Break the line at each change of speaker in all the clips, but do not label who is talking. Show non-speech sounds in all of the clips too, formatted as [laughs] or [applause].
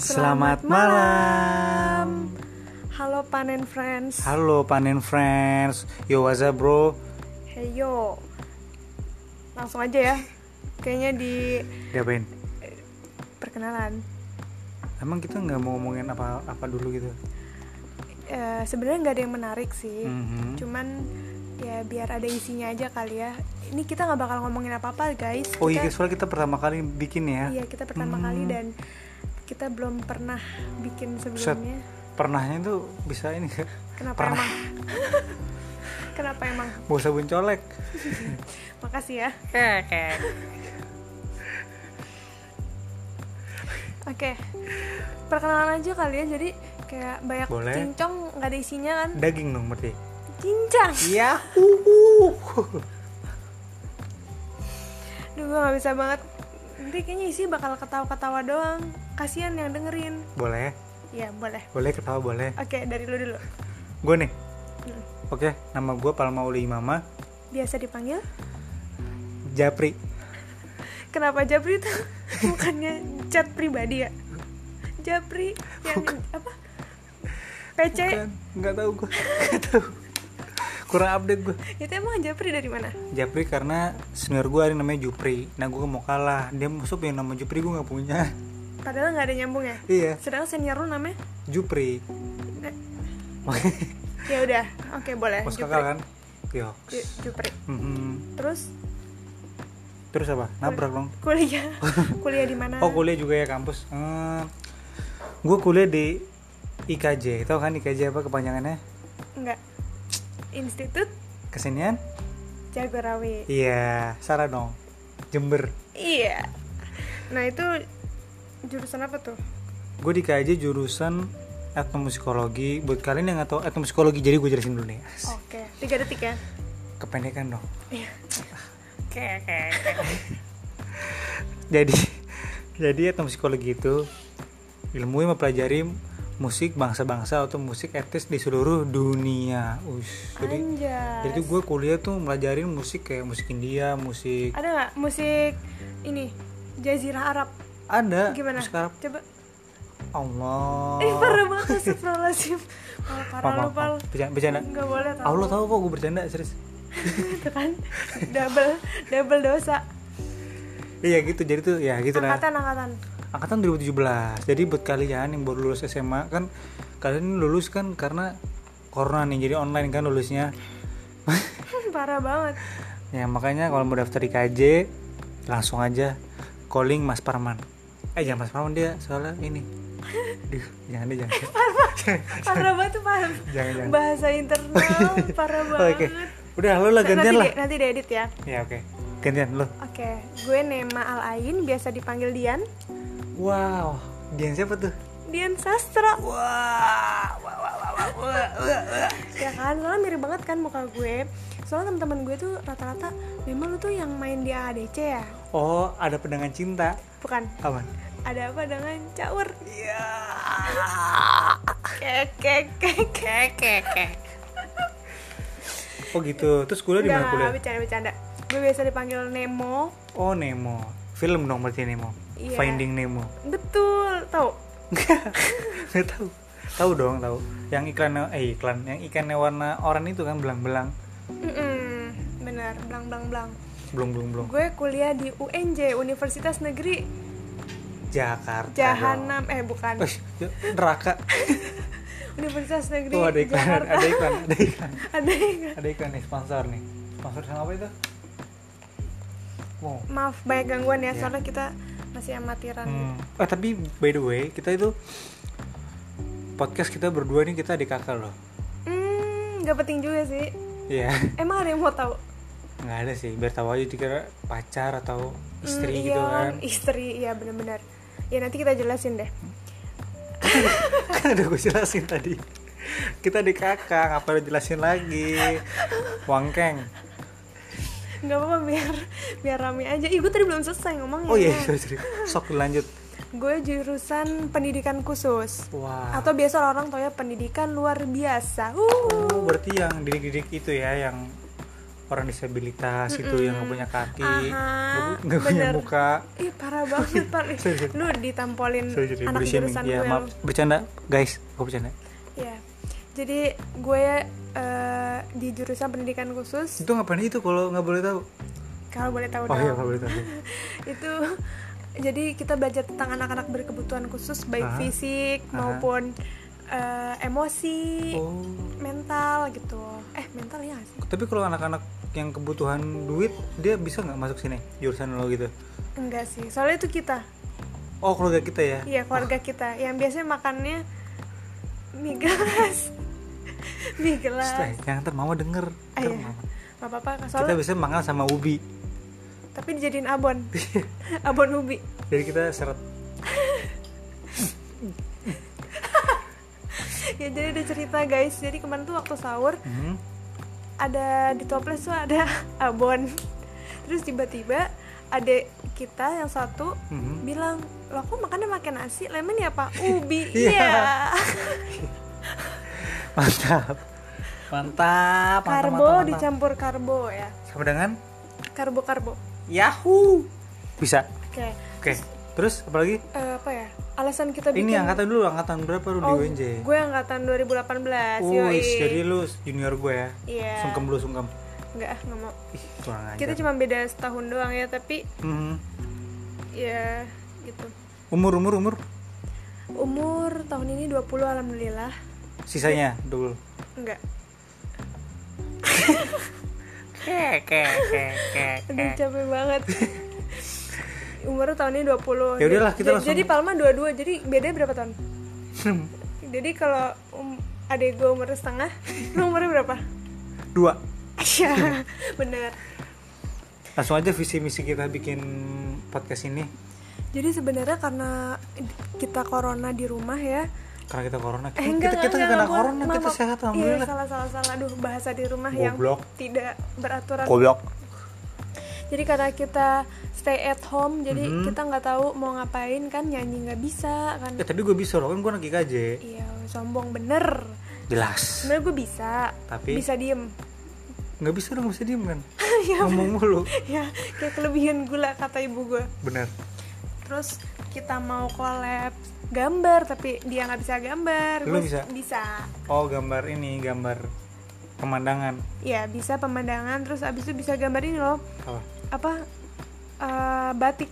Selamat malam.
Halo panen friends.
Halo panen friends. Yo what's up, bro?
Hey yo. Langsung aja ya. Kayaknya di
Diapain?
perkenalan.
Emang kita nggak mau ngomongin apa apa dulu gitu?
Eh, Sebenarnya nggak ada yang menarik sih.
Mhm.
Cuman ya biar ada isinya aja kali ya. Ini kita nggak bakal ngomongin apa-apa guys.
Oh iya,
Kita-
soalnya kita pertama kali bikin ya.
Iya kita pertama
Hmm.
kali dan kita belum pernah bikin sebelumnya.
Pernahnya tuh bisa ini [laughs] nggak?
Kenapa
Pernah.
emang? [laughs] Kenapa emang?
Bawa sabun colek.
Makasih ya. Oke, perkenalan aja kali ya. Jadi kayak banyak
Boleh.
cincong nggak ada isinya kan?
Daging dong berarti.
Cincang.
Iya.
Duh, gue nggak bisa banget. Nanti kayaknya isi bakal ketawa-ketawa doang. Kasihan yang dengerin.
boleh,
Ya boleh.
boleh ketawa boleh.
Oke, dari lu dulu.
Gue nih.
Hmm.
Oke, nama gue Palmauli Mama
Biasa dipanggil.
Japri.
Kenapa Japri tuh [laughs] bukannya chat pribadi ya? Japri yang apa? PC
Bukan, Kan, nggak tahu gue. [laughs] Nggak tahu. Kurang update gue.
itu emang Japri dari mana?
Japri karena senior gue ada yang namanya Jupri Nah gue mau kalah Dia masuk yang nama Jupri gue gak punya [laughs]
Padahal nggak ada nyambung ya.
Iya
Sedangkan senior lu namanya?
Jupri
Eh, Ya udah, oke boleh.
Mas
Japri.
kakak kan Yo.
Ju- Jupri.
Mhm.
Terus
Terus apa? Nabrak dong [laughs]
kuliah kuliah di mana?
Oh kuliah juga ya kampus hmm. Gue kuliah di IKJ Tau kan IKJ apa kepanjangannya?
Enggak. Institut
Kesenian?
Jagorawi.
Iya Sarah dong Jember
Iya. Nah, itu jurusan apa tuh?
Gue di IKJ jurusan etnomusikologi Buat kalian yang gak tau etnomusikologi Jadi gue jelasin dulu nih
Oke, tiga detik ya.
Kependekan dong
Iya.
Oke, oke, oke. jadi [laughs] jadi etno psikologi itu ilmu yang mempelajari musik bangsa-bangsa atau musik etnis di seluruh dunia. Ush, jadi
Anjas.
jadi gue kuliah tuh mempelajari musik kayak musik India, musik
Ada nggak musik ini Jazirah Arab?
ada Iya,
Gimana?
musik Arab. Oh.
Coba.
Allah.
Ih, parah banget
[laughs]
astagfirullahaladzim. Pal, parah lu, Pal.
Bercanda, bercanda.
Nggak boleh tau.
Allah tahu kok gue bercanda serius.
Itu kan double double dosa.
Iya gitu, jadi tuh ya gitu lah.
Angkatan angkatan. [laughs]
angkatan 2017 jadi buat kalian yang baru lulus SMA kan kalian lulus kan karena corona nih jadi online kan lulusnya
parah banget.
ya makanya kalau mau daftar IKJ langsung aja calling Mas Parman eh jangan Mas Parman dia soalnya
[laughs]
ini Duh, jangan deh jangan
Parah banget tuh paham.
[laughs] jangan jangan
Bahasa
[laughs]
internal parah
Oh,
banget.
oke udah lo lah gantian
nanti,
lah
di- nanti diedit ya.
ya oke gantian lo
Oke, gue Nema Alain, biasa dipanggil Dian.
wow Dian siapa tuh
Dian Sastra.
wah wah wah wah wah, wah, wah, wah.
Ya kan, soalnya mirip banget kan muka gue. Soalnya teman-teman gue tuh rata-rata, memang lu tuh yang main di AADC ya?
oh ada pendangan cinta
Bukan.
aman
Ada apa dengan cawer?
iya
Kek kek kek kek kek. kek.
Oh gitu. Terus kuliah di mana
Enggak,
kuliah?
bercanda-bercanda. Gue biasa dipanggil Nemo.
Oh Nemo. Film dong berarti Nemo.
Iya.
Finding
[laughs]
Nemo.
Betul, tau?
Nggak tahu. Tahu dong, tahu. Yang iklan eh iklan yang ikannya warna oranye itu kan belang-belang.
Mm-mm, bener, blang blang blang.
Belum belum belum.
Gue kuliah di UNJ, Universitas Negeri
Jakarta. dong.
Jahanam. Eh,
[laughs]
bukan.
Wih, ya,
[laughs]
neraka.
Universitas Negeri
Tuh ada iklan,
Jakarta.
ada iklan, ada iklan.
Ada yang-
Ada iklan nih sponsor nih. Sponsor sama apa itu? Wow.
Maaf banyak gangguan ya,
Iya.
soalnya kita masih amatiran.
Hmm. Eh tapi by the way, kita itu podcast kita berdua nih kita adik kakak loh.
Hmm, nggak penting juga sih.
Iya. [laughs]
Emang ada yang mau tahu?
nggak ada sih biar tahu aja dikira pacar atau istri
Hmm,
gitu
iya,
kan [laughs]
Istri, iya benar-benar. Ya nanti kita jelasin deh.
kan udah gue jelasin tadi kita di kakak apa udah jelasin lagi wangkeng
Nggak apa-apa biar biar rame aja. Ih, gue tadi belum selesai ngomongnya.
oh iya sorry, sorry. sok lanjut
Gue jurusan pendidikan khusus.
wah
Atau biasa orang-orang tau ya pendidikan luar biasa. Uh.
Oh, berarti yang didik-didik itu ya yang orang disabilitas itu
Mm-mm.
yang nggak punya kaki
Aha,
nggak pu- nggak punya
bener.
muka
Ih parah banget Pak
Oh. [laughs] Sorry, sorry.
Lu ditampolin
Sorry, jadi
anak
body shaming.
jurusan
ya
gue
maaf
lu.
bercanda guys aku bercanda
Iya. Jadi gue eh, di jurusan pendidikan khusus
itu ngapain itu kalau nggak boleh tahu
kalau boleh tahu
oh
dong
iya nggak boleh tahu
[laughs] itu jadi kita belajar tentang anak-anak berkebutuhan khusus baik
Aha.
fisik
Aha.
maupun eh, emosi
oh
mental gitu eh mental ya nggak sih?
tapi kalau anak-anak yang kebutuhan duit dia bisa nggak masuk sini jurusan lo gitu
enggak sih soalnya itu kita
oh keluarga kita ya
iya keluarga kita yang biasanya makannya mie gelas [laughs] mie gelas
Setelah, jangan ntar mama denger
Ah,
Ntar
iya.
mama-
nggak apa-apa
kita
soalnya
bisa mangal sama ubi
tapi dijadiin
[laughs]
abon abon ubi
jadi kita seret
ya jadi ada cerita guys jadi kemarin tuh waktu sahur
Mhm.
ada di toples tuh ada [laughs] abon terus tiba-tiba adik kita yang satu
Mhm.
bilang loh kok makannya pakai nasi lemon ya
[laughs]
pak ubi
Iya.
iya
mantap mantap mantap, mantap,
karbo
mantap.
dicampur karbo ya
sama dengan
karbo karbo
Yahoo bisa
oke
oke terus apalagi
eh, apa ya alasan kita bikin
ini angkatan dulu angkatan berapa lu
oh,
di UNJ
gue angkatan 2018 yoi
Wih, jadi lu junior gue ya
Iya.
sungkem lu sungkem
nggak ah, nggak mau
ih kurang ajar
kita cuma beda setahun doang ya tapi
Mhm.
ya gitu
umur umur umur
umur tahun ini 20 alhamdulillah
sisanya
Iya.
dulu
enggak
Oke, oke, oke, oke, oke.
Aduh capek
[laughs]
banget Umurnya tahunnya
Ya
20
udahlah, kita
Jadi-
langsung- Hmm.
Jadi Palma 22 Jadi bedanya berapa tahun? Jadi kalau um, adek gue umurnya setengah [laughs] Lu umurnya
[laughs]
berapa?
dua
Iya bener
langsung aja visi misi kita bikin podcast ini
Jadi sebenarnya karena kita corona di rumah ya
karena kita corona
Eh
kita
enggak,
kita, kita
enggak,
nggak kena
enggak, gua-
corona kita
maaf,
sehat
iya,
alhamdulillah
salah, salah, salah Aduh, bahasa di rumah yang
Goblok.
tidak beraturan
goblok
Jadi karena kita stay at home Jadi
Mm-hmm.
kita nggak tahu mau ngapain kan Nyanyi nggak bisa kan
eh tapi gue bisa loh kan gue lagi KJ
Iya, sombong bener.
jelas
Sebenarnya gue bisa,
Tapi?
bisa diem. [laughs]
nggak bisa dong nggak bisa diem kan
Iya,
ngomong mulu
ya, kayak kelebihan gula kata ibu gue.
bener
Terus kita mau collab gambar, tapi dia nggak bisa gambar.
Lu
Gua
bisa?
Bisa.
oh gambar ini gambar pemandangan
Ya, bisa pemandangan. Terus abis itu bisa gambar ini loh,
apa
apa eh, batik.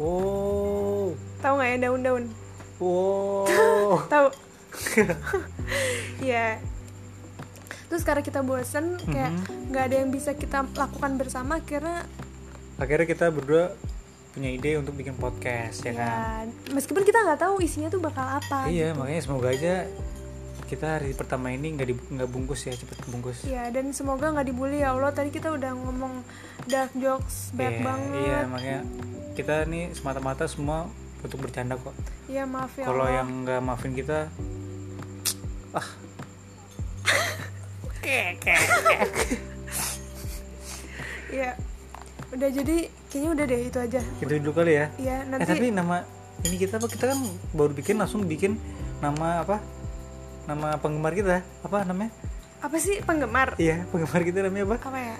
oh
Tahu nggak ya daun-daun?
[laughs] oh
Tahu. ya. Terus karena kita bosen, kayak
Mm-hmm.
nggak ada yang bisa kita lakukan bersama, karena
akhirnya kita berdua punya ide untuk bikin podcast ya kan
Ya, meskipun kita nggak tahu isinya tuh bakal apa.
Iya, makanya semoga aja kita hari pertama ini nggak di- nggak bungkus ya, cepet bungkus.
Ya, dan semoga nggak dibully ya Allah. Tadi kita udah ngomong dark jokes
Iya,
banyak banget.
iya, makanya kita nih semata-mata semua untuk bercanda kok.
Iya, maaf ya
Kalau
Allah.
yang nggak maafin kita, ah,
Iya. Udah jadi kayaknya udah deh itu aja.
itu dulu kali ya.
Iya,
Eh
nanti
tapi nama ini kita apa? Kita kan baru bikin langsung bikin nama apa? Nama penggemar kita apa namanya?
apa sih penggemar?
Iya, penggemar kita namanya apa?
Apa ya?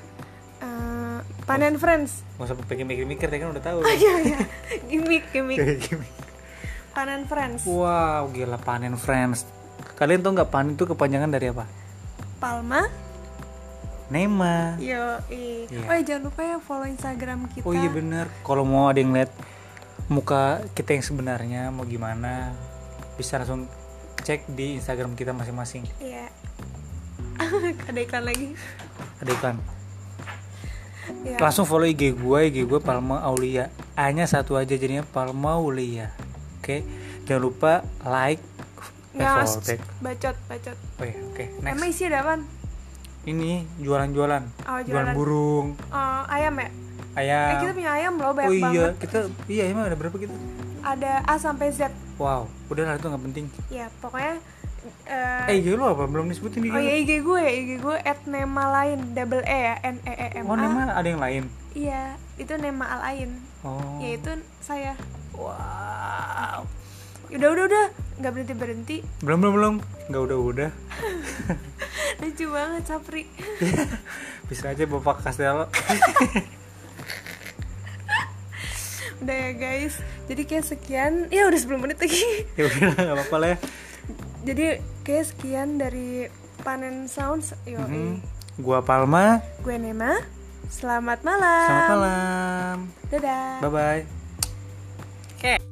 Eh, panen friends. [laughs]
Gak usah pakai mikir-mikir, dia kan udah tahu.
Iya, iya. Gimik, gimik.
Kayak gini.
Panen friends.
Wow, gila panen friends. Kalian tau nggak panen itu kepanjangan dari apa?
Palma.
Nema.
Yo,
Iya.
Oh, ya, jangan lupa ya follow Instagram kita.
Oh iya bener. Kalau mau ada yang lihat muka kita yang sebenarnya mau gimana, bisa langsung cek di Instagram kita masing-masing.
Iya. [laughs] ada iklan lagi.
Ada iklan.
Iya.
Langsung follow IG gue, IG gue Palma Aulia. A-nya satu aja jadinya Palma Aulia. Oke. Jangan lupa like, eh,
Ya,
follow back.
bacot, bacot.
Oh iya, oke. Next.
Emang isi ada apaan?
Ini jualan-jualan.
Oh,
jualan
jualan.
burung,
Eh, ayam ya? eh, kita
ayam.
punya ayam loh, banyak
oh iya,
banget.
kita iya emang ada berapa kita?
Ada A sampai Z.
Wow, udah lah itu nggak penting.
Ya, pokoknya... eh,
Eh, IG lu apa? Belum disebutin IG
oh
lu.
ya IG gue, IG gue at nema lain, double E ya, N E E M
Oh,
A.
nama ada yang lain.
Iya, itu nema al lain,
Oh.
yaitu saya.
Wow.
Udah udah udah, nggak berhenti [laughs] berhenti.
Belum belum belum. Nggak udah udah.
lucu banget Sapri
[laughs]
[laughs]
bisa aja bapak Castello
udah ya guys jadi kayak sekian ya udah 10 menit
[laughs]
lagi [laughs]
ya udah nggak apa-apa lah ya
jadi kayak sekian dari panen sounds yo
Mhm. gua Palma
gue Nema selamat malam
selamat malam
dadah
bye bye
Oke.